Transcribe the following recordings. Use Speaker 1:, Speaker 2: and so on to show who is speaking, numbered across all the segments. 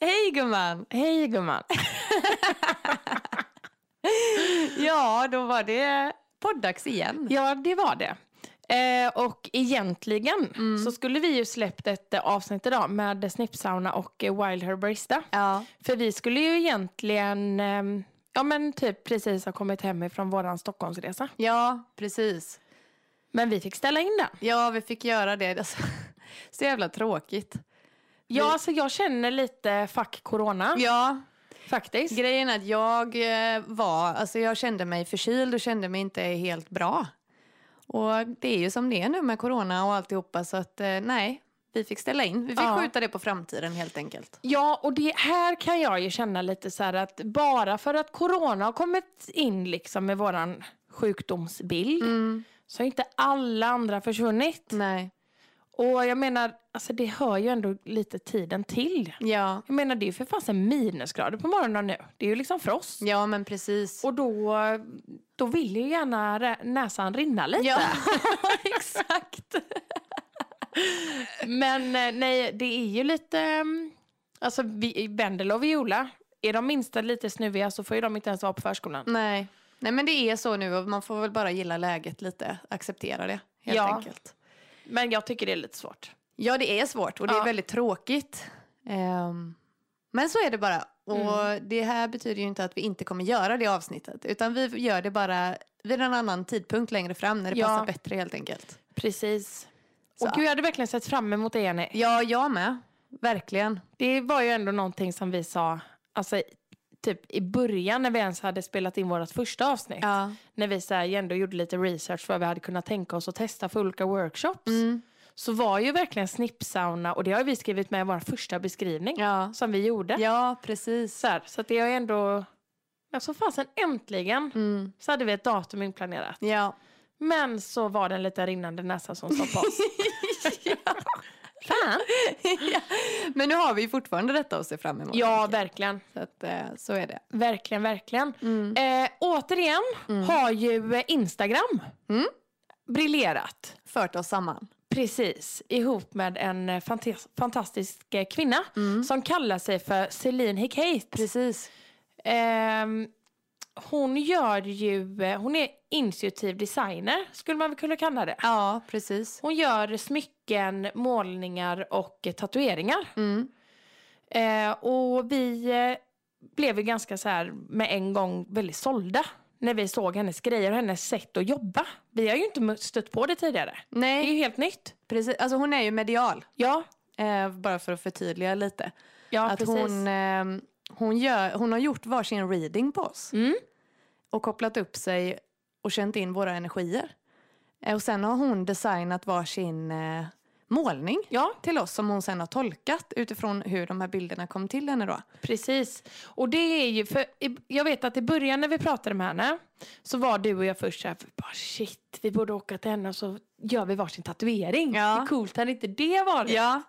Speaker 1: Hej gumman!
Speaker 2: Hej gumman.
Speaker 1: Ja, då var det poddags igen.
Speaker 2: Ja, det var det. Eh, och egentligen så skulle vi ju släppt ett eh, avsnitt idag med Snippsauna och eh, Wild Herbarista.
Speaker 1: Ja.
Speaker 2: För vi skulle ju egentligen, ehm, ja men typ precis ha kommit hem ifrån våran Stockholmsresa.
Speaker 1: Ja, precis.
Speaker 2: Men vi fick ställa in den.
Speaker 1: Ja, vi fick göra det. Alltså, så jävla tråkigt.
Speaker 2: Ja, alltså jag känner lite fuck corona
Speaker 1: Ja,
Speaker 2: faktiskt.
Speaker 1: grejen är att jag eh, var, alltså jag kände mig förkyld och kände mig inte helt bra. Och det är ju som det är nu med corona och alltihopa så att eh, nej, vi fick ställa in. Vi fick
Speaker 2: Ja.
Speaker 1: skjuta det på framtiden helt enkelt.
Speaker 2: Ja, och det här kan jag ju känna lite så här att bara för att corona har kommit in liksom med våran sjukdomsbild så har inte alla andra försvunnit.
Speaker 1: Nej.
Speaker 2: Och jag menar, alltså det hör ju ändå lite tiden till.
Speaker 1: Ja,
Speaker 2: Jag menar det är ju för fasen minusgrader på morgonen nu. Det är ju liksom frost.
Speaker 1: ja men precis.
Speaker 2: Och då, då vill ju gärna rä- näsan rinna lite.
Speaker 1: Ja, exakt.
Speaker 2: Men eh, nej, det är ju lite... mm, Alltså vi- Bendel och Viola, är de minsta lite snuviga så får ju de inte ens vara på förskolan.
Speaker 1: Nej. Nej, men det är så nu och man får väl bara gilla läget lite, acceptera det helt
Speaker 2: Ja.
Speaker 1: enkelt.
Speaker 2: Men jag tycker det är lite svårt.
Speaker 1: Ja, det är svårt och det
Speaker 2: Ja.
Speaker 1: är väldigt tråkigt. Ehm, men så är det bara. Och
Speaker 2: Mm.
Speaker 1: det här betyder ju inte att vi inte kommer göra det avsnittet, utan vi gör det bara vid en annan tidpunkt längre fram när det
Speaker 2: Ja.
Speaker 1: passar bättre helt enkelt.
Speaker 2: Precis.
Speaker 1: Så.
Speaker 2: Och gud, jag hade verkligen sett fram emot det, Jenny.
Speaker 1: Ja, jag med. Verkligen.
Speaker 2: Det var ju ändå någonting som vi sa, alltså i- typ i början när vi ens hade spelat in vårt första avsnitt.
Speaker 1: Ja.
Speaker 2: När vi så här, ändå gjorde lite research för vad vi hade kunnat tänka oss att testa för olika workshops.
Speaker 1: Mm.
Speaker 2: Så var ju verkligen snippsauna, och det har vi skrivit med i vår första beskrivning
Speaker 1: Ja.
Speaker 2: som vi gjorde.
Speaker 1: ja, precis.
Speaker 2: Så, här, så att det är ju ändå, alltså fasen äntligen
Speaker 1: Mm.
Speaker 2: så hade vi ett datum inplanerat.
Speaker 1: Ja.
Speaker 2: Men så var det en liten rinnande näsa som stoppade oss. Fan!
Speaker 1: ja. Men nu har vi ju fortfarande detta att se fram emot.
Speaker 2: Ja,
Speaker 1: tänker jag.
Speaker 2: verkligen.
Speaker 1: så, att, eh, så är det.
Speaker 2: Verkligen, verkligen.
Speaker 1: Mm.
Speaker 2: Eh, återigen har ju eh, Instagram
Speaker 1: Mm.
Speaker 2: briljerat.
Speaker 1: Fört oss samman.
Speaker 2: Precis, ihop med en eh, fantas- fantastisk eh, kvinna som kallar sig för Celine Hicate.
Speaker 1: Mm. Precis.
Speaker 2: Ehm, hon gör ju, eh, hon är intuitiv designer skulle man väl kunna kalla det.
Speaker 1: Ja, precis.
Speaker 2: Hon gör smycken, målningar och eh, tatueringar.
Speaker 1: Mm.
Speaker 2: Eh, och vi eh, blev ju ganska så här med en gång väldigt sålda när vi såg hennes grejer och hennes sätt att jobba. Vi har ju inte mött- stött på det tidigare. Det är
Speaker 1: Nej,
Speaker 2: ju helt nytt.
Speaker 1: precis. Alltså hon är ju medial.
Speaker 2: Ja,
Speaker 1: Eh, bara för att förtydliga lite.
Speaker 2: ja
Speaker 1: att
Speaker 2: precis.
Speaker 1: hon, eh, hon, gör, hon har gjort varsin reading på oss.
Speaker 2: Mm.
Speaker 1: Och kopplat upp sig och känt in våra energier. Eh, och sen har hon designat varsin eh, målning
Speaker 2: Ja,
Speaker 1: till oss som hon sen har tolkat utifrån hur de här bilderna kom till henne då.
Speaker 2: precis. Och det är ju, för i- jag vet att i början när vi pratade med henne så var du och jag först såhär, bara shit, vi borde åka till henne och så gör vi varsin tatuering.
Speaker 1: Ja.
Speaker 2: Hur coolt hade inte det varit?
Speaker 1: Ja,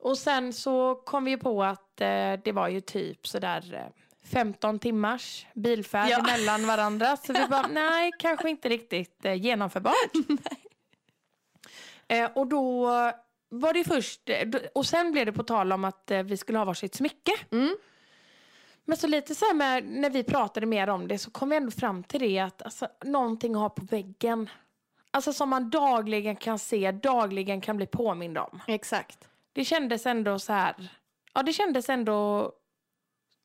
Speaker 2: Och sen så kom vi på att eh, det var ju typ sådär eh, 15 timmars bilfärd
Speaker 1: Ja.
Speaker 2: mellan varandra. Så vi bara, nej, kanske inte riktigt eh, genomförbart. eh, och då var det ju först, eh, då- och sen blev det på tal om att eh, vi skulle ha varsitt smycke.
Speaker 1: Mm.
Speaker 2: Men så lite så här med, när vi pratade mer om det så kom vi ändå fram till det att alltså, någonting att ha på väggen. Alltså som man dagligen kan se, dagligen kan bli påmind om.
Speaker 1: exakt.
Speaker 2: Det kändes ändå så här... Ja, det kändes ändå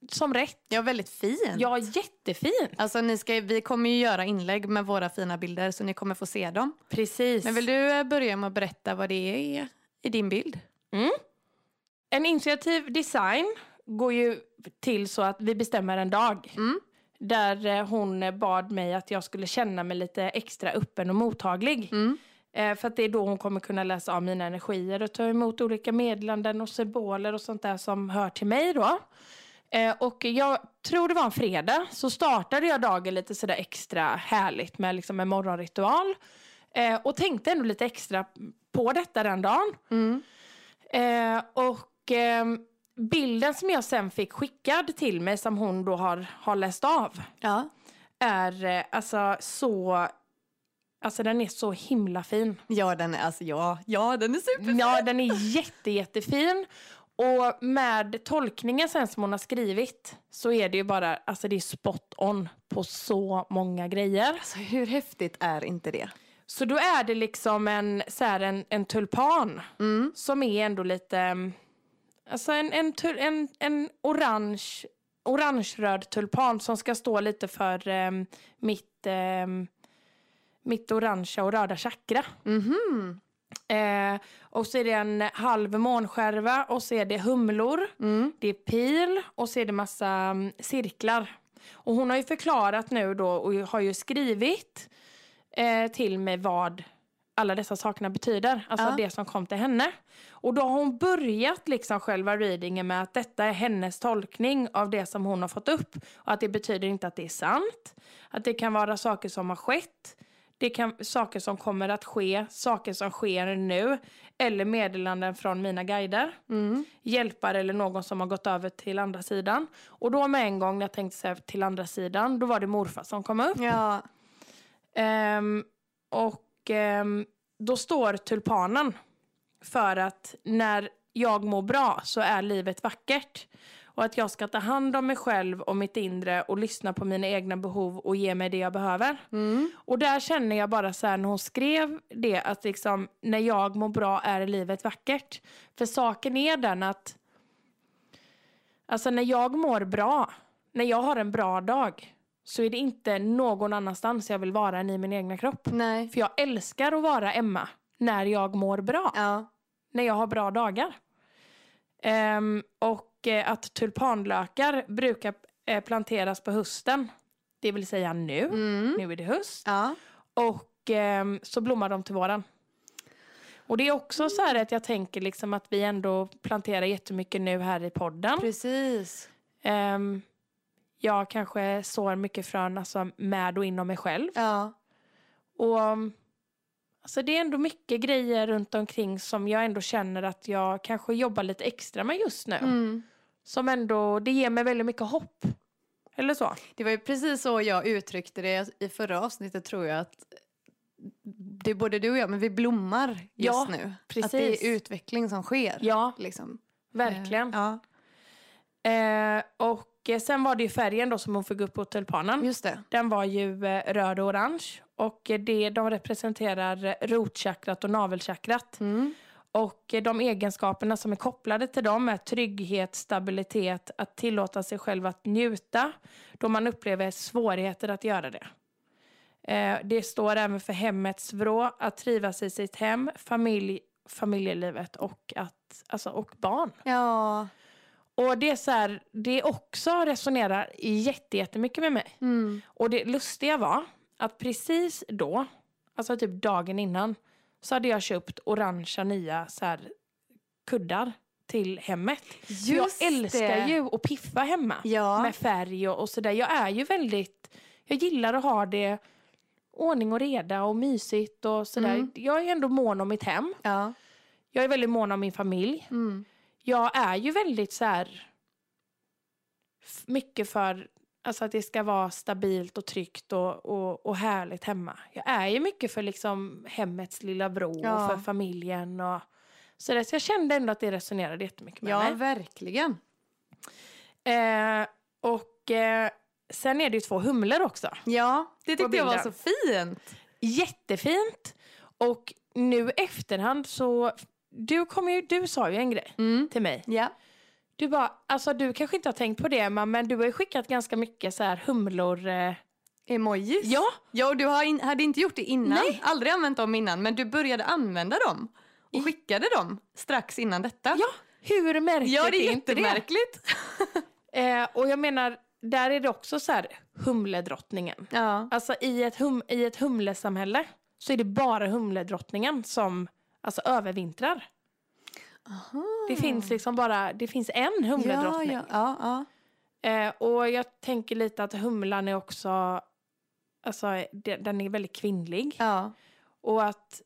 Speaker 2: som rätt.
Speaker 1: Ja, väldigt fin.
Speaker 2: Ja, jättefin.
Speaker 1: Alltså, ni ska, vi kommer ju göra inlägg med våra fina bilder så ni kommer få se dem.
Speaker 2: Precis.
Speaker 1: Men vill du eh, börja med att berätta vad det är i din bild?
Speaker 2: En initiativ design går ju till så att vi bestämmer en dag.
Speaker 1: Mm.
Speaker 2: Där eh, hon bad mig att jag skulle känna mig lite extra öppen och mottaglig.
Speaker 1: Mm.
Speaker 2: Eh, För att det är då hon kommer kunna läsa av mina energier och ta emot olika meddelanden och symboler och sånt där som hör till mig då. Eh, Och jag tror det var en fredag så startade jag dagen lite sådär extra härligt med liksom en morgonritual. Eh, Och tänkte ändå lite extra på detta den dagen. Eh, och ehm, bilden som jag sen fick skickad till mig som hon då har, har läst av
Speaker 1: Ja.
Speaker 2: är eh, alltså så, alltså den är så himla fin.
Speaker 1: Ja, den är, alltså, ja, ja, den är super.
Speaker 2: Ja, den är jätte, jättefin. Och med tolkningen sen som hon har skrivit så är det ju bara, alltså det är spot on på så många grejer.
Speaker 1: Alltså hur häftigt är inte det?
Speaker 2: Så då är det liksom en, så här, en, en tulpan
Speaker 1: Mm.
Speaker 2: som är ändå lite, mm, alltså en, en, tul, en, en orange, orangeröd tulpan som ska stå lite för em, mitt, em, mitt orangea och röda chakra.
Speaker 1: Mhm.
Speaker 2: Eh, och så är det en halv månskärva och så är det humlor,
Speaker 1: Mm.
Speaker 2: det är pil och så är det massa mm, cirklar. Och hon har ju förklarat nu då och har ju skrivit eh, till mig vad alla dessa sakerna betyder, alltså
Speaker 1: Ja.
Speaker 2: det som kom till henne. Och då har hon börjat liksom själva readingen med att detta är hennes tolkning av det som hon har fått upp och att det betyder inte att det är sant, att det kan vara saker som har skett, det kan saker som kommer att ske, saker som sker nu eller meddelanden från mina guider
Speaker 1: Mm.
Speaker 2: hjälpare eller någon som har gått över till andra sidan. Och då med en gång när jag tänkte så här, till andra sidan, då var det morfar som kom upp.
Speaker 1: Ja.
Speaker 2: Ehm, och ehm, då står tulpanen för att när jag mår bra så är livet vackert. Och att jag ska ta hand om mig själv och mitt inre och lyssna på mina egna behov och ge mig det jag behöver.
Speaker 1: Mm.
Speaker 2: Och där känner jag bara så här när hon skrev det att liksom när jag mår bra är livet vackert. För saken är den att alltså när jag mår bra, när jag har en bra dag så är det inte någon annanstans jag vill vara än i min egna kropp.
Speaker 1: Nej.
Speaker 2: För jag älskar att vara Emma när jag mår bra
Speaker 1: Ja.
Speaker 2: när jag har bra dagar. Ehm, och eh, att tulpanlökar brukar eh, planteras på hösten, det vill säga nu.
Speaker 1: Mm.
Speaker 2: Nu är det höst.
Speaker 1: Ja.
Speaker 2: Och ehm, så blommar de till våren. Och det är också så här att jag tänker liksom att vi ändå planterar jättemycket nu här i podden.
Speaker 1: Precis.
Speaker 2: Ehm, jag kanske sår mycket frön alltså med och inom mig själv.
Speaker 1: Ja.
Speaker 2: Och um, alltså det är ändå mycket grejer runt omkring som jag ändå känner att jag kanske jobbar lite extra med just nu.
Speaker 1: Mm.
Speaker 2: Som ändå, det ger mig väldigt mycket hopp. Eller så.
Speaker 1: Det var ju precis så jag uttryckte det i förra avsnittet tror jag att det är både du och jag, men vi blommar just
Speaker 2: Ja,
Speaker 1: nu. Att
Speaker 2: precis.
Speaker 1: det är utveckling som sker.
Speaker 2: Ja,
Speaker 1: Liksom.
Speaker 2: verkligen.
Speaker 1: Eh, Ja,
Speaker 2: Eh, och eh, sen var det ju färgen då som hon fick upp på tulpanen.
Speaker 1: just det.
Speaker 2: Den var ju eh, röd och orange. Och eh, det, de representerar eh, rotchakrat och navelchakrat.
Speaker 1: Mm.
Speaker 2: Och eh, de egenskaperna som är kopplade till dem är trygghet, stabilitet, att tillåta sig själv att njuta då man upplever svårigheter att göra det. Eh, Det står även för hemmets vrå, att trivas i sitt hem, familj, familjelivet och, att, alltså, och barn.
Speaker 1: Ja.
Speaker 2: Och det, är så här, det också resonerar jätte- jättemycket med mig.
Speaker 1: Mm.
Speaker 2: Och det lustiga var att precis då, alltså typ dagen innan, så hade jag köpt orangea nya så här, kuddar till hemmet. För
Speaker 1: Just
Speaker 2: jag älskar
Speaker 1: det.
Speaker 2: ju att piffa hemma
Speaker 1: Ja.
Speaker 2: med färg och, och sådär. Jag är ju väldigt, jag gillar att ha det ordning och reda och mysigt och sådär.
Speaker 1: Mm.
Speaker 2: Jag är ändå mån om mitt hem.
Speaker 1: Ja.
Speaker 2: Jag är väldigt mån om min familj.
Speaker 1: Mm.
Speaker 2: Jag är ju väldigt så här f- mycket för alltså att det ska vara stabilt och tryggt och, och, och härligt hemma. Jag är ju mycket för liksom hemmets lilla vrå
Speaker 1: Ja.
Speaker 2: och för familjen och så där. Så jag kände ändå att det resonerade jättemycket med
Speaker 1: ja,
Speaker 2: mig.
Speaker 1: verkligen.
Speaker 2: Eh, och eh, sen är det ju två humlor också.
Speaker 1: Ja, det
Speaker 2: På
Speaker 1: tyckte jag var så
Speaker 2: bilden.
Speaker 1: fint.
Speaker 2: Jättefint! Och nu efterhand så, du, kom ju, du sa ju en grej
Speaker 1: Mm.
Speaker 2: till mig.
Speaker 1: Ja.
Speaker 2: Du bara, alltså du kanske inte har tänkt på det Emma, men du har ju skickat ganska mycket så här humlor. Eh,
Speaker 1: Emojis.
Speaker 2: Ja.
Speaker 1: ja och du har in, hade inte gjort det innan.
Speaker 2: Nej.
Speaker 1: Aldrig använt dem innan, men du började använda dem. Och skickade dem strax innan detta.
Speaker 2: ja, hur märkligt
Speaker 1: Ja, det är
Speaker 2: inte
Speaker 1: jättemärkligt.
Speaker 2: Eh, och jag menar, där är det också så här humledrottningen.
Speaker 1: Ja.
Speaker 2: Alltså i ett, hum, i ett humlesamhälle så är det bara humledrottningen som alltså, övervintrar. Det finns liksom bara, det finns en humledrottning.
Speaker 1: Mm. Ja, ja, ja,
Speaker 2: Eh, och jag tänker lite att humlan är också, alltså de- den är väldigt kvinnlig.
Speaker 1: ja.
Speaker 2: Och att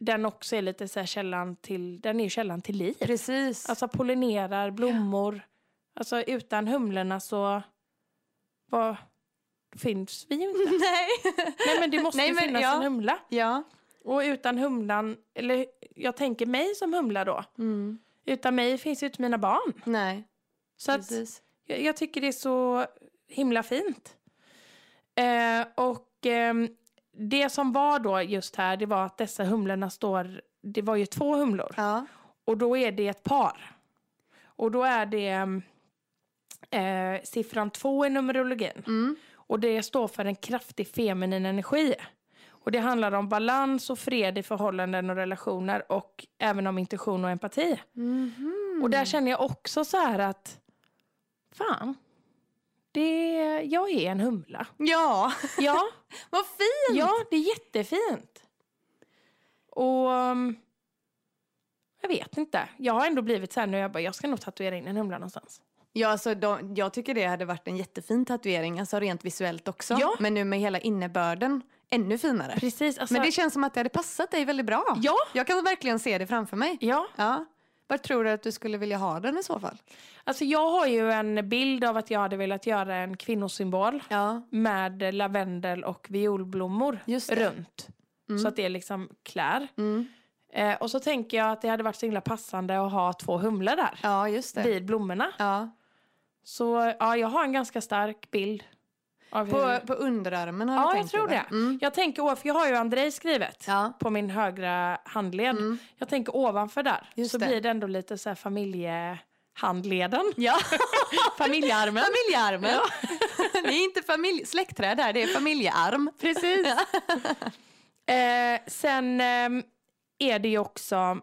Speaker 2: den också är lite så här källan till, den är ju källan till liv.
Speaker 1: precis.
Speaker 2: Alltså pollinerar blommor. Alltså utan humlorna så, vad, finns vi ju inte.
Speaker 1: nej.
Speaker 2: Nej men det måste
Speaker 1: Nej,
Speaker 2: ju
Speaker 1: men
Speaker 2: finnas
Speaker 1: ja.
Speaker 2: en humla.
Speaker 1: ja.
Speaker 2: Och utan humlan, eller jag tänker mig som humla då. Utan mig finns ju inte mina barn.
Speaker 1: Mm. Nej,
Speaker 2: Så att
Speaker 1: precis.
Speaker 2: jag, jag tycker det är så himla fint. Eh, och ehm, det som var då just här, det var att dessa humlorna står, det var ju två humlor.
Speaker 1: Ja,
Speaker 2: Och då är det ett par. Och då är det ehm, eh, siffran två i numerologin.
Speaker 1: mm.
Speaker 2: Och det står för en kraftig feminin energi. Och det handlar om balans och fred i förhållanden och relationer och även om intuition och empati.
Speaker 1: Mhm.
Speaker 2: Och där känner jag också så här att fan, det, jag är en humla.
Speaker 1: Ja,
Speaker 2: Ja,
Speaker 1: vad fint!
Speaker 2: ja det är jättefint. Och um, jag vet inte. Jag har ändå blivit så här nu, jag bara, jag ska nog tatuera in en humla någonstans.
Speaker 1: Ja, alltså, de, jag tycker det hade varit en jättefin tatuering, alltså rent visuellt också.
Speaker 2: Ja.
Speaker 1: Men nu med hela innebörden, ännu finare.
Speaker 2: Precis, alltså.
Speaker 1: Men det känns som att det hade passat dig väldigt bra.
Speaker 2: ja,
Speaker 1: Jag kan verkligen se det framför mig.
Speaker 2: ja.
Speaker 1: Ja. Var tror du att du skulle vilja ha den i så fall?
Speaker 2: Alltså jag har ju en bild av att jag hade velat göra en kvinnosymbol
Speaker 1: Ja,
Speaker 2: med eh, lavendel och violblommor
Speaker 1: just det.
Speaker 2: runt.
Speaker 1: Mm.
Speaker 2: Så att det liksom klär.
Speaker 1: Mm.
Speaker 2: Eh, och så tänker jag att det hade varit så himla passande att ha två humlor där.
Speaker 1: Ja, just det.
Speaker 2: Vid blommorna.
Speaker 1: Ja.
Speaker 2: Så ja, jag har en ganska stark bild. Av
Speaker 1: På,
Speaker 2: hur...
Speaker 1: på underarmen har
Speaker 2: Ja,
Speaker 1: du
Speaker 2: jag
Speaker 1: tänkt
Speaker 2: tror
Speaker 1: dig, va?
Speaker 2: det.
Speaker 1: Mm.
Speaker 2: Jag tänker, ov- för jag har ju Andrei skrivet.
Speaker 1: Ja.
Speaker 2: På min högra handled.
Speaker 1: Mm.
Speaker 2: Jag tänker ovanför där.
Speaker 1: Just
Speaker 2: så
Speaker 1: det.
Speaker 2: blir det ändå lite så här familjehandleden.
Speaker 1: Ja,
Speaker 2: Familjearmen.
Speaker 1: familjearmen. det är inte familj, släktträd där, det är familjearm.
Speaker 2: Precis. eh, sen ehm, är det ju också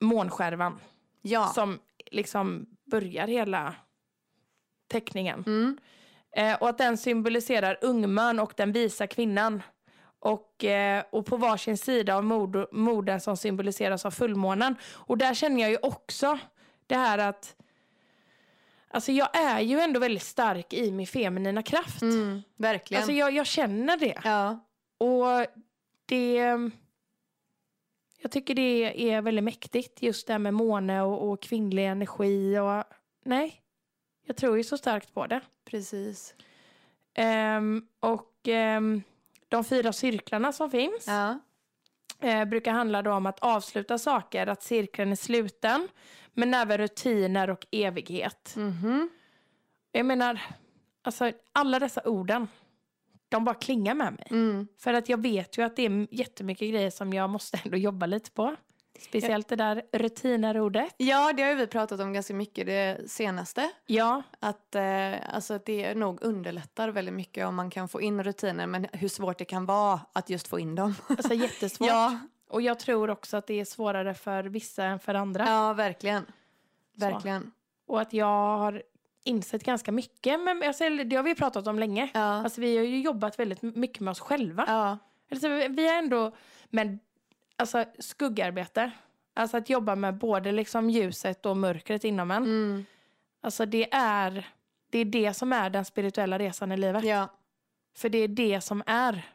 Speaker 2: månskärvan
Speaker 1: Ja.
Speaker 2: som liksom börjar hela teckningen.
Speaker 1: Mm.
Speaker 2: Eh, och att den symboliserar ungmön och den visa kvinnan. Och, eh, och på varsin sida av mod- moden som symboliseras av fullmånen. Och där känner jag ju också det här att Alltså jag är ju ändå väldigt stark i min feminina kraft.
Speaker 1: Mm. Verkligen.
Speaker 2: Alltså jag, jag känner det.
Speaker 1: ja.
Speaker 2: Och det... Jag tycker det är väldigt mäktigt, just det här med måne och, och kvinnlig energi. Och, nej, jag tror ju så starkt på det.
Speaker 1: Precis.
Speaker 2: Ehm, och ehm, de fyra cirklarna som finns
Speaker 1: Ja.
Speaker 2: eh, brukar handla då om att avsluta saker, att cirkeln är sluten, men även rutiner och evighet.
Speaker 1: Mhm.
Speaker 2: Jag menar, alltså alla dessa orden, de bara klingar med mig.
Speaker 1: Mm.
Speaker 2: För att jag vet ju att det är jättemycket grejer som jag måste ändå jobba lite på. Speciellt det där rutinerordet.
Speaker 1: Ja, det har ju vi pratat om ganska mycket det senaste.
Speaker 2: Ja,
Speaker 1: Att, eh, alltså att det nog underlättar väldigt mycket om man kan få in rutiner men hur svårt det kan vara att just få in dem.
Speaker 2: alltså jättesvårt.
Speaker 1: Ja,
Speaker 2: Och jag tror också att det är svårare för vissa än för andra.
Speaker 1: ja, verkligen. Verkligen.
Speaker 2: Och att jag har insett ganska mycket. Men alltså, eller det har vi ju pratat om länge.
Speaker 1: Ja.
Speaker 2: Alltså vi har ju jobbat väldigt mycket med oss själva.
Speaker 1: Ja.
Speaker 2: Alltså, vi- vi är ändå, men alltså skuggarbete. Alltså att jobba med både liksom ljuset och mörkret inom en.
Speaker 1: Mm.
Speaker 2: Alltså det är, det är det som är den spirituella resan i livet.
Speaker 1: ja,
Speaker 2: För det är det som är.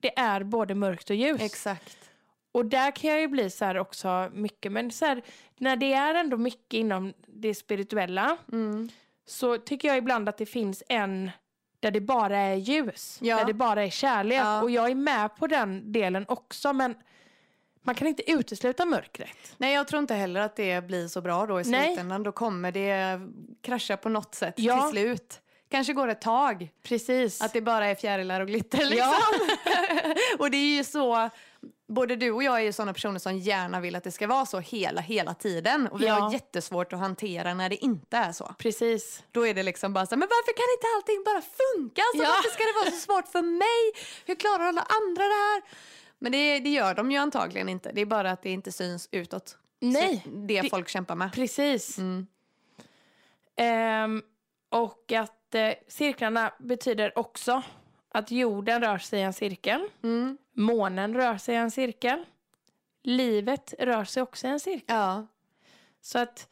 Speaker 2: Det är både mörkt och ljus.
Speaker 1: exakt.
Speaker 2: och där kan jag ju bli så här också mycket. Men så här, när det är ändå mycket inom det spirituella
Speaker 1: Mm.
Speaker 2: så tycker jag ibland att det finns en där det bara är ljus.
Speaker 1: Ja.
Speaker 2: Där det bara är kärlek.
Speaker 1: Ja.
Speaker 2: Och jag är med på den delen också. Men man kan inte utesluta mörkret.
Speaker 1: Nej, jag tror inte heller att det blir så bra då i
Speaker 2: Nej.
Speaker 1: slutändan. Då kommer det krascha på något sätt
Speaker 2: Ja.
Speaker 1: till slut. Kanske går ett tag
Speaker 2: Precis.
Speaker 1: Att det bara är fjärilar och glitter liksom. och det är ju så, både du och jag är ju sådana personer som gärna vill att det ska vara så hela, hela tiden. Och vi
Speaker 2: Ja.
Speaker 1: har jättesvårt att hantera när det inte är så.
Speaker 2: Precis.
Speaker 1: Då är det liksom bara så här, men varför kan inte allting bara funka? Alltså,
Speaker 2: Ja.
Speaker 1: Varför ska det vara så svårt för mig? Hur klarar alla andra det här? Men det, det gör de ju antagligen inte. Det är bara att det inte syns utåt.
Speaker 2: Nej.
Speaker 1: Så det,
Speaker 2: det-
Speaker 1: folk kämpar med.
Speaker 2: Precis.
Speaker 1: Mm.
Speaker 2: Ehm, och att eh, cirklarna betyder också att jorden rör sig i en cirkel.
Speaker 1: Mm.
Speaker 2: Månen rör sig i en cirkel. Livet rör sig också i en cirkel.
Speaker 1: Ja.
Speaker 2: Så att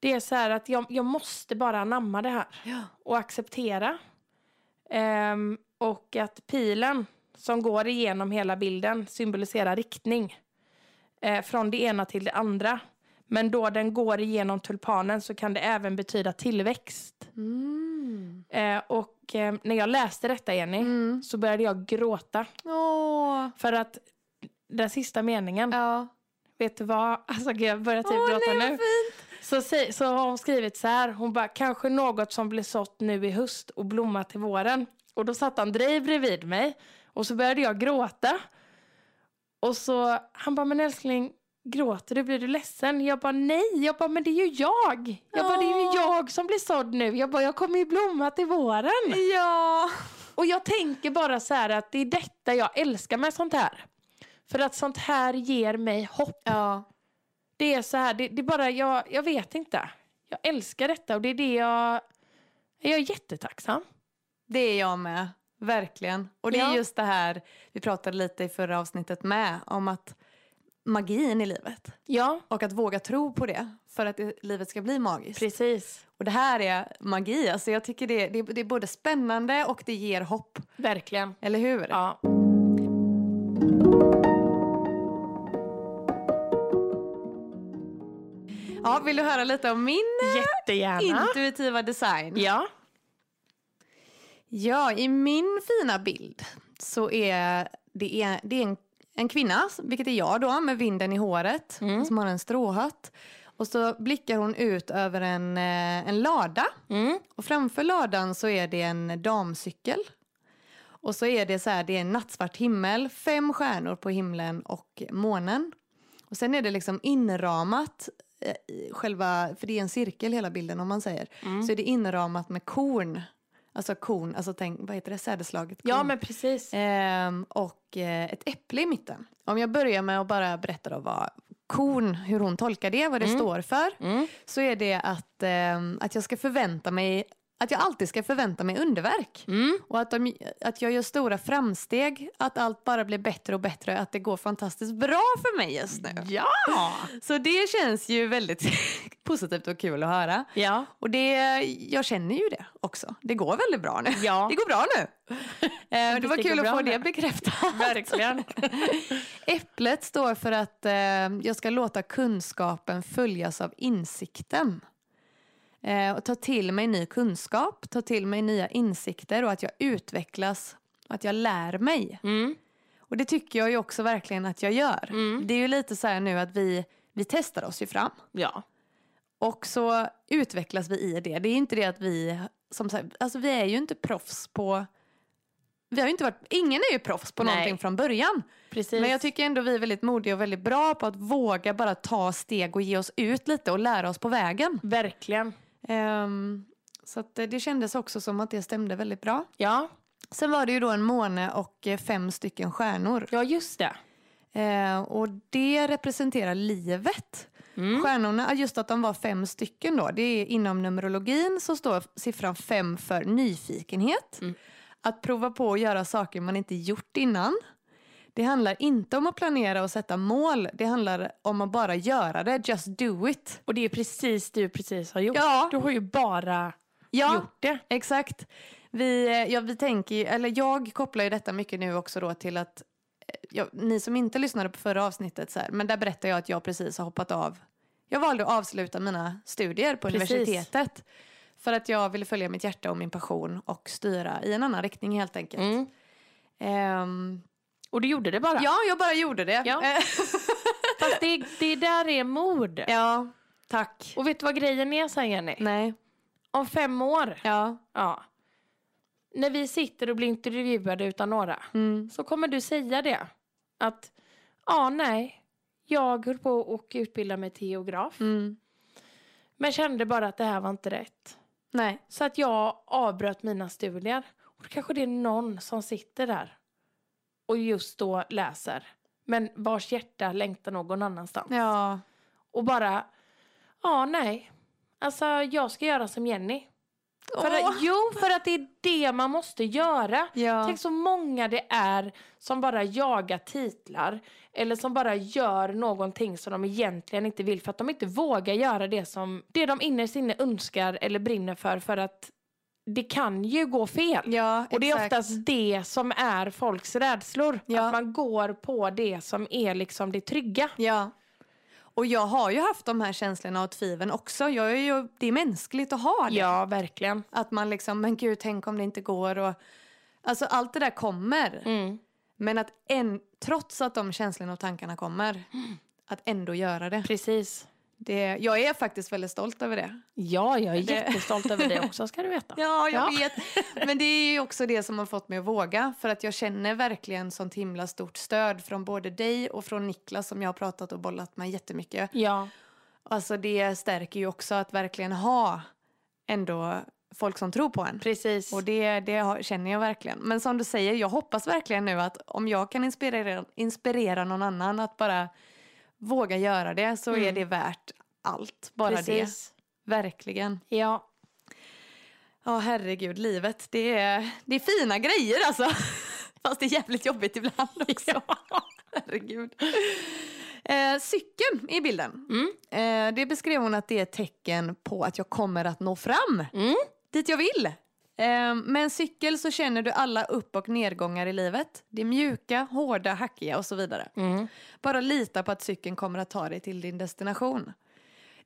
Speaker 2: det är så här att jag, jag måste bara anamma det här
Speaker 1: ja.
Speaker 2: och acceptera. Ehm, och att pilen som går igenom hela bilden symboliserar riktning. Eh, från det ena till det andra. Men då den går igenom tulpanen så kan det även betyda tillväxt.
Speaker 1: Mm.
Speaker 2: Eh, och eh, när jag läste detta, Jenny,
Speaker 1: Mm.
Speaker 2: så började jag gråta.
Speaker 1: Åh.
Speaker 2: För att den sista meningen
Speaker 1: Ja.
Speaker 2: Vet du vad? Alltså gud, jag börjar typ
Speaker 1: Åh,
Speaker 2: gråta
Speaker 1: nej, vad
Speaker 2: nu. Så, säg- så har hon skrivit så här. Hon bara, kanske något som blir sått nu i höst och blommat till våren. Och då satt Andrej bredvid mig och så började jag gråta. Och så han bara, men älskling, gråter du? Blir du ledsen? Jag bara, nej. Jag bara, men det är ju jag. Jag bara, det är
Speaker 1: Åh.
Speaker 2: ju jag som blir sådd nu. Jag bara, jag kommer ju blomma till våren.
Speaker 1: Ja.
Speaker 2: Och jag tänker bara så här att det är detta jag älskar med sånt här. För att sånt här ger mig hopp.
Speaker 1: Ja.
Speaker 2: Det är så här, det, det är bara, jag, jag vet inte. Jag älskar detta och det är det jag... Jag är jättetacksam.
Speaker 1: Det är jag med, verkligen. Och det är
Speaker 2: Ja.
Speaker 1: just det här vi pratade lite i förra avsnittet med om att magin i livet
Speaker 2: Ja,
Speaker 1: och att våga tro på det för att det, livet ska bli magiskt.
Speaker 2: precis.
Speaker 1: Och det här är magi, alltså jag tycker det, det, det är både spännande och det ger hopp,
Speaker 2: Verkligen.
Speaker 1: eller hur?
Speaker 2: Ja.
Speaker 1: Ja, vill du höra lite om min
Speaker 2: Jättegärna.
Speaker 1: intuitiva design?
Speaker 2: Ja.
Speaker 1: Ja, i min fina bild så är det, är, det är en, en kvinna, vilket är jag då, med vinden i håret,
Speaker 2: Mm.
Speaker 1: som har en stråhatt. Och så blickar hon ut över en, eh, en lada.
Speaker 2: Mm.
Speaker 1: Och framför ladan så är det en damcykel. Och så är det så här, det är en nattsvart himmel, fem stjärnor på himlen och månen. Och sen är det liksom inramat, eh, i själva, för det är en cirkel hela bilden om man säger.
Speaker 2: Mm.
Speaker 1: Så är det inramat med korn, alltså korn, alltså tänk, vad heter det, sädeslaget korn.
Speaker 2: ja, men precis.
Speaker 1: Ehm, och eh, ett äpple i mitten. Om jag börjar med att bara berätta då vad korn, hur hon tolkar det, vad det står för
Speaker 2: Mm.
Speaker 1: så är det att, ehm, att jag ska förvänta mig att jag alltid ska förvänta mig underverk.
Speaker 2: Mm.
Speaker 1: Och att, de, att jag gör stora framsteg, att allt bara blir bättre och bättre, att det går fantastiskt bra för mig just nu.
Speaker 2: Ja!
Speaker 1: Så det känns ju väldigt positivt och kul att höra.
Speaker 2: Ja.
Speaker 1: Och det, jag känner ju det också. Det går väldigt bra nu.
Speaker 2: Ja.
Speaker 1: Det går bra nu. Eh, det
Speaker 2: Visst,
Speaker 1: var
Speaker 2: det
Speaker 1: kul
Speaker 2: går
Speaker 1: att
Speaker 2: bra
Speaker 1: få
Speaker 2: nu.
Speaker 1: det bekräftat.
Speaker 2: Verkligen.
Speaker 1: Äpplet står för att eh, jag ska låta kunskapen följas av insikten. Eh, och ta till mig ny kunskap, ta till mig nya insikter och att jag utvecklas och att jag lär mig.
Speaker 2: Mm.
Speaker 1: Och det tycker jag ju också verkligen att jag gör.
Speaker 2: Mm.
Speaker 1: Det är ju lite så här nu att vi, vi testar oss ju fram
Speaker 2: Ja.
Speaker 1: och så utvecklas vi i det. Det är inte det att vi, som sagt, alltså vi är ju inte proffs på vi har ju inte varit, ingen är ju proffs på
Speaker 2: Nej.
Speaker 1: någonting från början.
Speaker 2: Precis.
Speaker 1: Men jag tycker ändå vi är väldigt modiga och väldigt bra på att våga bara ta steg och ge oss ut lite och lära oss på vägen.
Speaker 2: Verkligen.
Speaker 1: Ehm, så att eh, det kändes också som att det stämde väldigt bra.
Speaker 2: Ja.
Speaker 1: Sen var det ju då en måne och eh, fem stycken stjärnor.
Speaker 2: Ja, just det.
Speaker 1: Ehm, och det representerar livet.
Speaker 2: Mm.
Speaker 1: Stjärnorna, just att de var fem stycken då, det är inom numerologin så står siffran fem för nyfikenhet.
Speaker 2: Mm.
Speaker 1: Att prova på att göra saker man inte gjort innan. Det handlar inte om att planera och sätta mål, det handlar om att bara göra det, just do it.
Speaker 2: Och det är precis det du precis har gjort.
Speaker 1: Ja,
Speaker 2: Du har ju bara
Speaker 1: ja
Speaker 2: gjort det.
Speaker 1: exakt. Vi, eh, ja, vi tänker, ju- eller jag kopplar ju detta mycket nu också då till att eh, ja, ni som inte lyssnade på förra avsnittet, så här, men där berättade jag att jag precis har hoppat av. Jag valde att avsluta mina studier på
Speaker 2: Precis.
Speaker 1: universitetet för att jag ville följa mitt hjärta och min passion och styra i en annan riktning helt enkelt.
Speaker 2: Mm.
Speaker 1: Ehm,
Speaker 2: Och du gjorde det bara.
Speaker 1: ja, jag bara gjorde det.
Speaker 2: Ja.
Speaker 1: Eh,
Speaker 2: Fast det, det där är mod.
Speaker 1: ja tack.
Speaker 2: Och vet du vad grejen är sen Jenny?
Speaker 1: Nej,
Speaker 2: Om fem år,
Speaker 1: ja.
Speaker 2: ja. när vi sitter och blir intervjuade utan några,
Speaker 1: Mm.
Speaker 2: så kommer du säga det. Att, ja nej, jag höll på och utbilda mig till geograf.
Speaker 1: Mm.
Speaker 2: Men kände bara att det här var inte rätt.
Speaker 1: Nej,
Speaker 2: Så att jag avbröt mina studier. Och då kanske det är någon som sitter där och just då läser. Men vars hjärta längtar någon annanstans.
Speaker 1: ja.
Speaker 2: Och bara, ja nej. Alltså jag ska göra som Jenny. För
Speaker 1: Åh.
Speaker 2: att, jo, för att det är det man måste göra.
Speaker 1: ja.
Speaker 2: Tänk så många det är som bara jagar titlar. Eller som bara gör någonting som de egentligen inte vill. För att de inte vågar göra det som det de innerst inne önskar eller brinner för. För att det kan ju gå fel.
Speaker 1: ja,
Speaker 2: Och det är
Speaker 1: exakt.
Speaker 2: oftast det som är folks rädslor.
Speaker 1: Ja.
Speaker 2: Att man går på det som är liksom det trygga.
Speaker 1: Ja. Och jag har ju haft de här känslorna och tviven också. Jag är ju, det är mänskligt att ha det.
Speaker 2: Ja, verkligen.
Speaker 1: Att man liksom, men gud, tänk om det inte går. Och, alltså allt det där kommer.
Speaker 2: Mm.
Speaker 1: Men att en, trots att de känslorna och tankarna kommer, att ändå göra det.
Speaker 2: Precis.
Speaker 1: det. Jag är faktiskt väldigt stolt över det.
Speaker 2: Ja, jag är
Speaker 1: Det-
Speaker 2: jättestolt över det också ska du veta.
Speaker 1: Ja, jag
Speaker 2: Ja.
Speaker 1: vet. Men det är ju också det som har fått mig att våga. För att jag känner verkligen sånt himla stort stöd från både dig och från Niklas som jag har pratat och bollat med jättemycket.
Speaker 2: Ja,
Speaker 1: Alltså det stärker ju också att verkligen ha ändå folk som tror på en.
Speaker 2: precis.
Speaker 1: Och det, det har- känner jag verkligen. Men som du säger, jag hoppas verkligen nu att om jag kan inspirera, inspirera någon annan att bara våga göra det så är
Speaker 2: Mm.
Speaker 1: det värt allt. Bara
Speaker 2: precis.
Speaker 1: det. Verkligen.
Speaker 2: Ja.
Speaker 1: Ja, herregud, livet. Det är, det är fina grejer alltså. Fast det är jävligt jobbigt ibland också. Herregud. Eh, cykeln i bilden.
Speaker 2: Mm.
Speaker 1: Eh, det beskrev hon att det är ett tecken på att jag kommer att nå fram
Speaker 2: Mm.
Speaker 1: dit jag vill. Eh, med en cykel så känner du alla upp och nedgångar i livet. Det mjuka, hårda, hackiga och så vidare.
Speaker 2: Mm.
Speaker 1: Bara lita på att cykeln kommer att ta dig till din destination.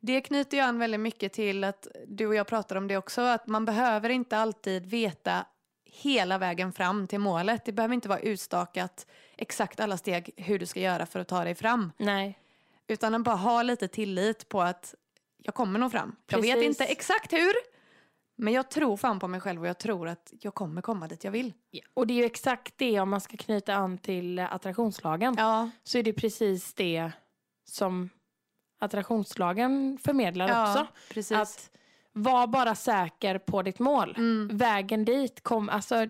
Speaker 1: Det knyter ju an väldigt mycket till att du och jag pratar om det också, att man behöver inte alltid veta hela vägen fram till målet. Det behöver inte vara utstakat exakt alla steg hur du ska göra för att ta dig fram.
Speaker 2: Nej.
Speaker 1: Utan att bara ha lite tillit på att jag kommer nå fram. Jag vet
Speaker 2: Precis.
Speaker 1: inte exakt hur, men jag tror fan på mig själv och jag tror att jag kommer komma dit jag vill.
Speaker 2: Ja. Och det är ju exakt det om man ska knyta an till eh, attraktionslagen.
Speaker 1: Ja,
Speaker 2: Så är det precis det som attraktionslagen förmedlar också.
Speaker 1: precis.
Speaker 2: Att var bara säker på ditt mål.
Speaker 1: Mm.
Speaker 2: Vägen dit kom, alltså,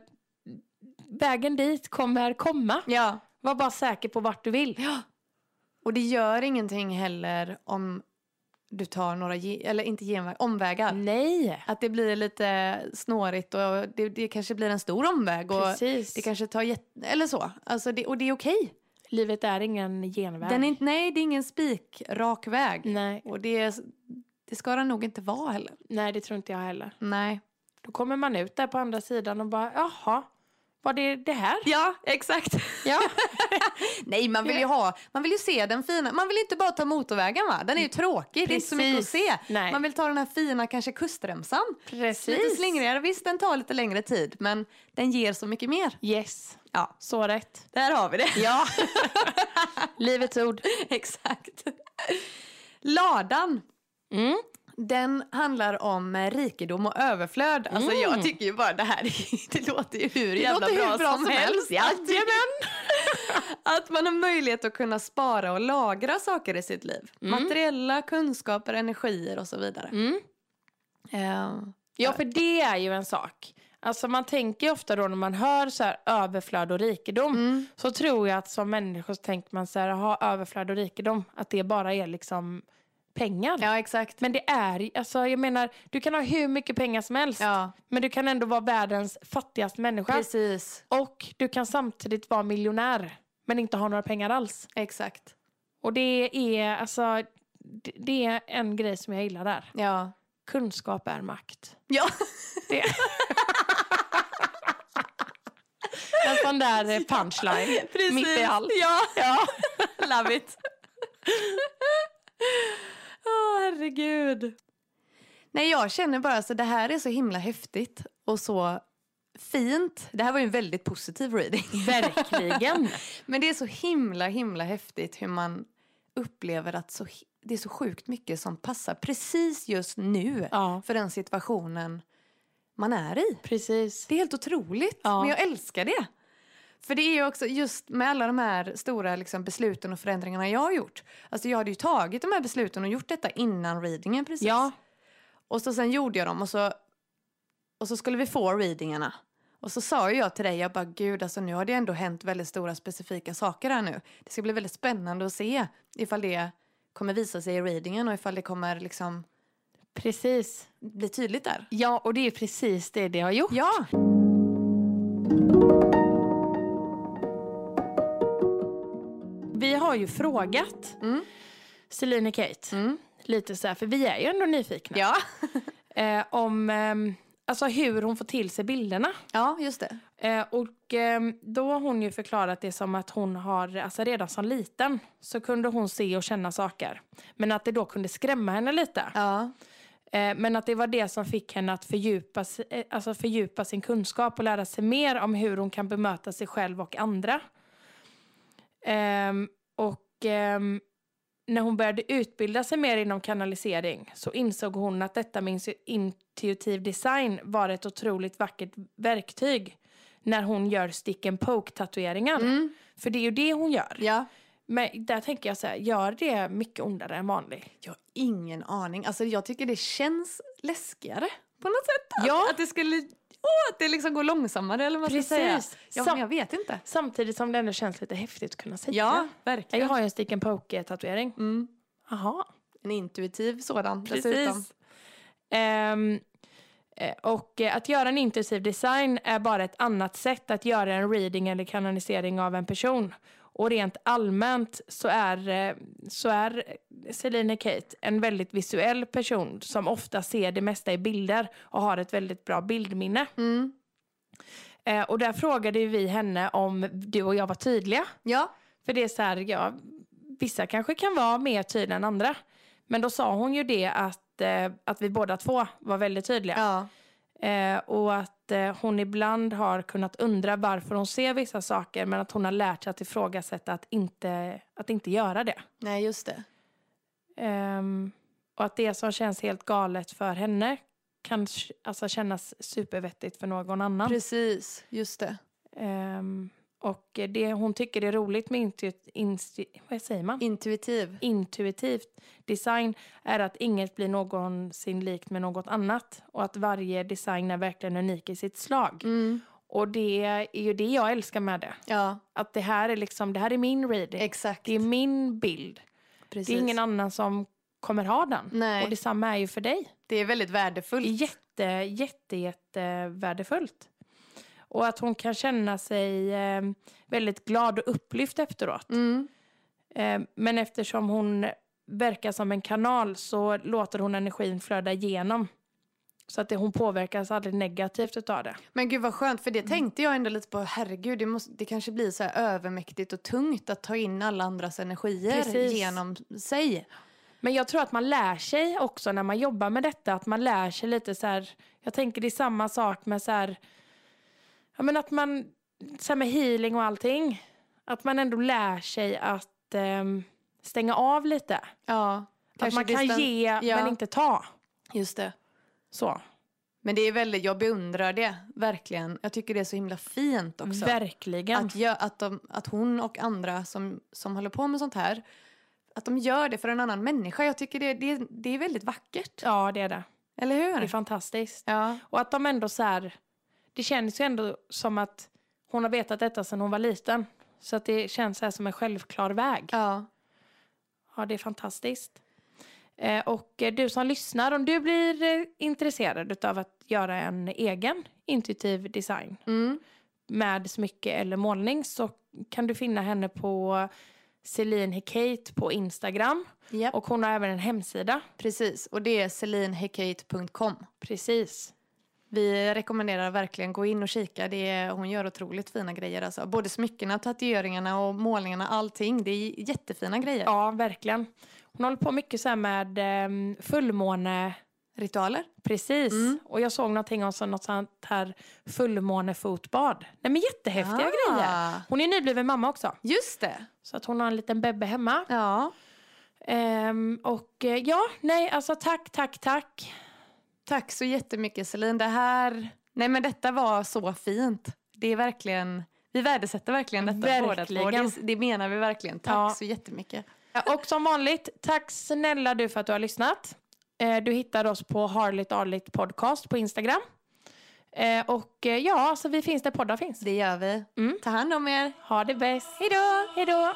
Speaker 2: vägen dit kommer komma.
Speaker 1: Ja,
Speaker 2: Var bara säker på vart du vill.
Speaker 1: Ja. Och det gör ingenting heller om du tar några, ge- eller inte genvägar, omvägar.
Speaker 2: Nej,
Speaker 1: Att det blir lite snårigt och det, det kanske blir en stor omväg. Och
Speaker 2: precis.
Speaker 1: det kanske tar jätte, eller så. Alltså det, och det är okej.
Speaker 2: Livet är ingen genväg.
Speaker 1: Den är inte, nej, det är ingen spikrak väg.
Speaker 2: nej,
Speaker 1: Och det, det ska den nog inte vara heller.
Speaker 2: nej, det tror inte jag heller.
Speaker 1: Nej.
Speaker 2: Då kommer man ut där på andra sidan och bara, jaha, var det det här?
Speaker 1: Ja, exakt.
Speaker 2: Ja,
Speaker 1: Nej, man vill ju ha, man vill ju se den fina, man vill inte bara ta motorvägen va? Den är ju tråkig, det är inte så mycket att se.
Speaker 2: Nej,
Speaker 1: Man vill ta den här fina, kanske kustremsan.
Speaker 2: precis.
Speaker 1: Lite slingrigare. Visst, den tar lite längre tid, men den ger så mycket mer.
Speaker 2: Yes,
Speaker 1: Ja,
Speaker 2: så rätt.
Speaker 1: där har vi det.
Speaker 2: Ja, livets ord.
Speaker 1: Exakt. Ladan,
Speaker 2: Mm.
Speaker 1: den handlar om eh, rikedom och överflöd. Alltså
Speaker 2: Mm.
Speaker 1: jag tycker ju bara det här, det låter ju hur jävla
Speaker 2: låter hur
Speaker 1: bra, som, helst.
Speaker 2: Jajamän.
Speaker 1: Att man har möjlighet att kunna spara och lagra saker i sitt liv.
Speaker 2: Mm.
Speaker 1: Materiella kunskaper, energier och så vidare.
Speaker 2: Mm.
Speaker 1: Eh,
Speaker 2: Ja, för det är ju en sak. Alltså man tänker ju ofta då när man hör så här överflöd och rikedom
Speaker 1: mm.
Speaker 2: så tror jag att som människor så tänker man så här, ha överflöd och rikedom, att det bara är liksom pengar.
Speaker 1: Ja, exakt.
Speaker 2: Men det är, ju- alltså jag menar, du kan ha hur mycket pengar som helst,
Speaker 1: Ja,
Speaker 2: men du kan ändå vara världens fattigaste människa.
Speaker 1: precis.
Speaker 2: Och du kan samtidigt vara miljonär, men inte ha några pengar alls.
Speaker 1: Exakt.
Speaker 2: Och det är, alltså, det, det är en grej som jag gillar där.
Speaker 1: Ja.
Speaker 2: Kunskap är makt.
Speaker 1: Ja.
Speaker 2: Det. En sån där eh, punchline.
Speaker 1: Precis.
Speaker 2: Mitt i allt.
Speaker 1: Ja,
Speaker 2: Ja.
Speaker 1: love it. Åh, herregud. Nej, jag känner bara så det här är så himla häftigt och så fint. Det här var ju en väldigt positiv reading.
Speaker 2: Verkligen.
Speaker 1: Men det är så himla, himla häftigt hur man upplever att så, hi- det är så sjukt mycket som passar precis just nu
Speaker 2: Ja,
Speaker 1: för den situationen man är i.
Speaker 2: precis.
Speaker 1: Det är helt otroligt,
Speaker 2: Ja.
Speaker 1: men jag älskar det. För det är ju också just med alla de här stora liksom, besluten och förändringarna jag har gjort. Alltså jag hade ju tagit de här besluten och gjort detta innan readingen precis.
Speaker 2: Ja,
Speaker 1: Och så sen gjorde jag dem och så, och så skulle vi få readingarna. Och så sa ju jag till dig, jag bara gud alltså nu har det ändå hänt väldigt stora specifika saker här nu. Det ska bli väldigt spännande att se ifall det kommer visa sig i readingen och ifall det kommer liksom
Speaker 2: precis.
Speaker 1: bli tydligt där.
Speaker 2: Ja, och det är precis det det har gjort.
Speaker 1: Ja!
Speaker 2: Vi har ju frågat
Speaker 1: Mm.
Speaker 2: Celine och Kate
Speaker 1: Mm.
Speaker 2: lite så här, för vi är ju ändå nyfikna.
Speaker 1: Ja.
Speaker 2: Eh, om ehm, alltså hur hon får till sig bilderna.
Speaker 1: ja, just det.
Speaker 2: Eh, och ehm, då har hon ju förklarat det som att hon har, alltså redan som liten så kunde hon se och känna saker. Men att det då kunde skrämma henne lite.
Speaker 1: Ja.
Speaker 2: Eh, men att det var det som fick henne att fördjupa, si- eh, alltså fördjupa sin kunskap och lära sig mer om hur hon kan bemöta sig själv och andra. Ehm, och ehm, när hon började utbilda sig mer inom kanalisering så insåg hon att detta med insu- intuitiv design var ett otroligt vackert verktyg när hon gör stick and poke-tatueringen.
Speaker 1: Mm.
Speaker 2: För det är ju det hon gör.
Speaker 1: Ja.
Speaker 2: Men där tänker jag så här, gör det mycket ondare än vanligt?
Speaker 1: Jag har ingen aning. Alltså jag tycker det känns läskigare på något sätt.
Speaker 2: Ja.
Speaker 1: Att det skulle... Åh, att det liksom går långsammare eller vad man ska säga.
Speaker 2: Precis.
Speaker 1: Ja,
Speaker 2: Sam-
Speaker 1: men jag vet inte.
Speaker 2: Samtidigt som det ändå känns lite häftigt att kunna säga.
Speaker 1: Ja,
Speaker 2: Jag
Speaker 1: verkligen.
Speaker 2: har ju en stick and poke-tatuering.
Speaker 1: Mm.
Speaker 2: Jaha.
Speaker 1: En intuitiv sådan dessutom.
Speaker 2: Precis. Ehm, eh, och eh, att göra en intensiv design är bara ett annat sätt att göra en reading eller kanonisering av en person. Och rent allmänt så är, eh, så är Selina Kate en väldigt visuell person som ofta ser det mesta i bilder och har ett väldigt bra bildminne.
Speaker 1: Mm.
Speaker 2: Eh, och där frågade ju vi henne om du och jag var tydliga.
Speaker 1: Ja.
Speaker 2: För det är så här, ja, vissa kanske kan vara mer tydliga än andra. Men då sa hon ju det att, eh, att vi båda två var väldigt tydliga.
Speaker 1: ja.
Speaker 2: Eh, och att eh, hon ibland har kunnat undra varför hon ser vissa saker men att hon har lärt sig att ifrågasätta att inte, att inte göra det.
Speaker 1: Nej, just det.
Speaker 2: Ehm, och att det som känns helt galet för henne kan k- alltså, kännas supervettigt för någon annan.
Speaker 1: Precis, just det.
Speaker 2: Ehm, och det hon tycker är roligt med intuit... insti- vad säger man?
Speaker 1: Intuitiv.
Speaker 2: intuitivt design är att inget blir någonsin likt med något annat och att varje design är verkligen unik i sitt slag.
Speaker 1: Mm.
Speaker 2: Och det är ju det jag älskar med det.
Speaker 1: Ja,
Speaker 2: Att det här är liksom, det här är min reading.
Speaker 1: exakt.
Speaker 2: det är min bild.
Speaker 1: Precis.
Speaker 2: Det är ingen annan som kommer ha den.
Speaker 1: Nej.
Speaker 2: Och detsamma är ju för dig.
Speaker 1: Det är väldigt värdefullt.
Speaker 2: Det är jätte, jätte, jätte värdefullt. Och att hon kan känna sig eh, väldigt glad och upplyft efteråt.
Speaker 1: Mm.
Speaker 2: Eh, Men eftersom hon verkar som en kanal så låter hon energin flöda igenom. Så att det, hon påverkas aldrig negativt utav det.
Speaker 1: Men gud vad skönt, för det
Speaker 2: Mm.
Speaker 1: tänkte jag ändå lite på. Herregud, det, måste, det kanske blir så här övermäktigt och tungt att ta in alla andras energier
Speaker 2: Precis.
Speaker 1: genom sig.
Speaker 2: Men jag tror att man lär sig också när man jobbar med detta. Att man lär sig lite så här. Jag tänker det är samma sak med så här. Ja men att man. Så här med healing och allting. Att man ändå lär sig att ehm, stänga av lite.
Speaker 1: Ja,
Speaker 2: Att man kan
Speaker 1: distan-
Speaker 2: ge
Speaker 1: ja.
Speaker 2: men inte ta.
Speaker 1: Just det.
Speaker 2: Så.
Speaker 1: Men det är väldigt, jag beundrar det, verkligen. Jag tycker det är så himla fint också.
Speaker 2: Verkligen.
Speaker 1: Att, gö- att, de, att hon och andra som, som håller på med sånt här, att de gör det för en annan människa. Jag tycker det, det, det är väldigt vackert.
Speaker 2: Ja det är det.
Speaker 1: Eller
Speaker 2: Det är
Speaker 1: hur?
Speaker 2: fantastiskt.
Speaker 1: Ja,
Speaker 2: Och att de ändå så här, det känns ju ändå som att hon har vetat detta sedan hon var liten. Så att det känns så här som en självklar väg.
Speaker 1: ja.
Speaker 2: Ja, det är fantastiskt. Eh, och eh, du som lyssnar, om du blir eh, intresserad av att göra en egen intuitiv design
Speaker 1: Mm.
Speaker 2: med smycke eller målning så kan du finna henne på Celine Hecate på Instagram.
Speaker 1: Japp.
Speaker 2: Och hon har även en hemsida.
Speaker 1: Precis, och det är selinhecate.com.
Speaker 2: Precis.
Speaker 1: Vi rekommenderar verkligen gå in och kika. Det är, hon gör otroligt fina grejer. Alltså. Både smyckena, tatueringarna och målningarna, allting. Det är jättefina grejer.
Speaker 2: Ja, verkligen. Hon håller på mycket så här med ehm, fullmåne...
Speaker 1: Ritualer?
Speaker 2: Precis.
Speaker 1: Mm.
Speaker 2: Och jag såg någonting om så- något sånt här fullmånefotbad. Nej men jättehäftiga grejer. Hon är nybliven mamma också.
Speaker 1: Ah. Just det!
Speaker 2: Så att hon har en liten bebbe hemma.
Speaker 1: Ja.
Speaker 2: Ehm, och eh, ja, nej alltså tack, tack, tack.
Speaker 1: Tack så jättemycket Celine. Det här... Nej men detta var så fint. Det är verkligen... Vi värdesätter verkligen detta båda två.
Speaker 2: Verkligen.
Speaker 1: Det, det menar vi verkligen. Tack
Speaker 2: Ja.
Speaker 1: så jättemycket.
Speaker 2: Ja, Och som vanligt, tack snälla du för att du har lyssnat. Eh, du hittar oss på Harligt Arligt Podcast på Instagram. Eh, och eh, ja, så vi finns där poddar finns.
Speaker 1: Det gör vi.
Speaker 2: Mm.
Speaker 1: Ta hand om er.
Speaker 2: Ha det bäst.
Speaker 1: Hej då!
Speaker 2: Hej då.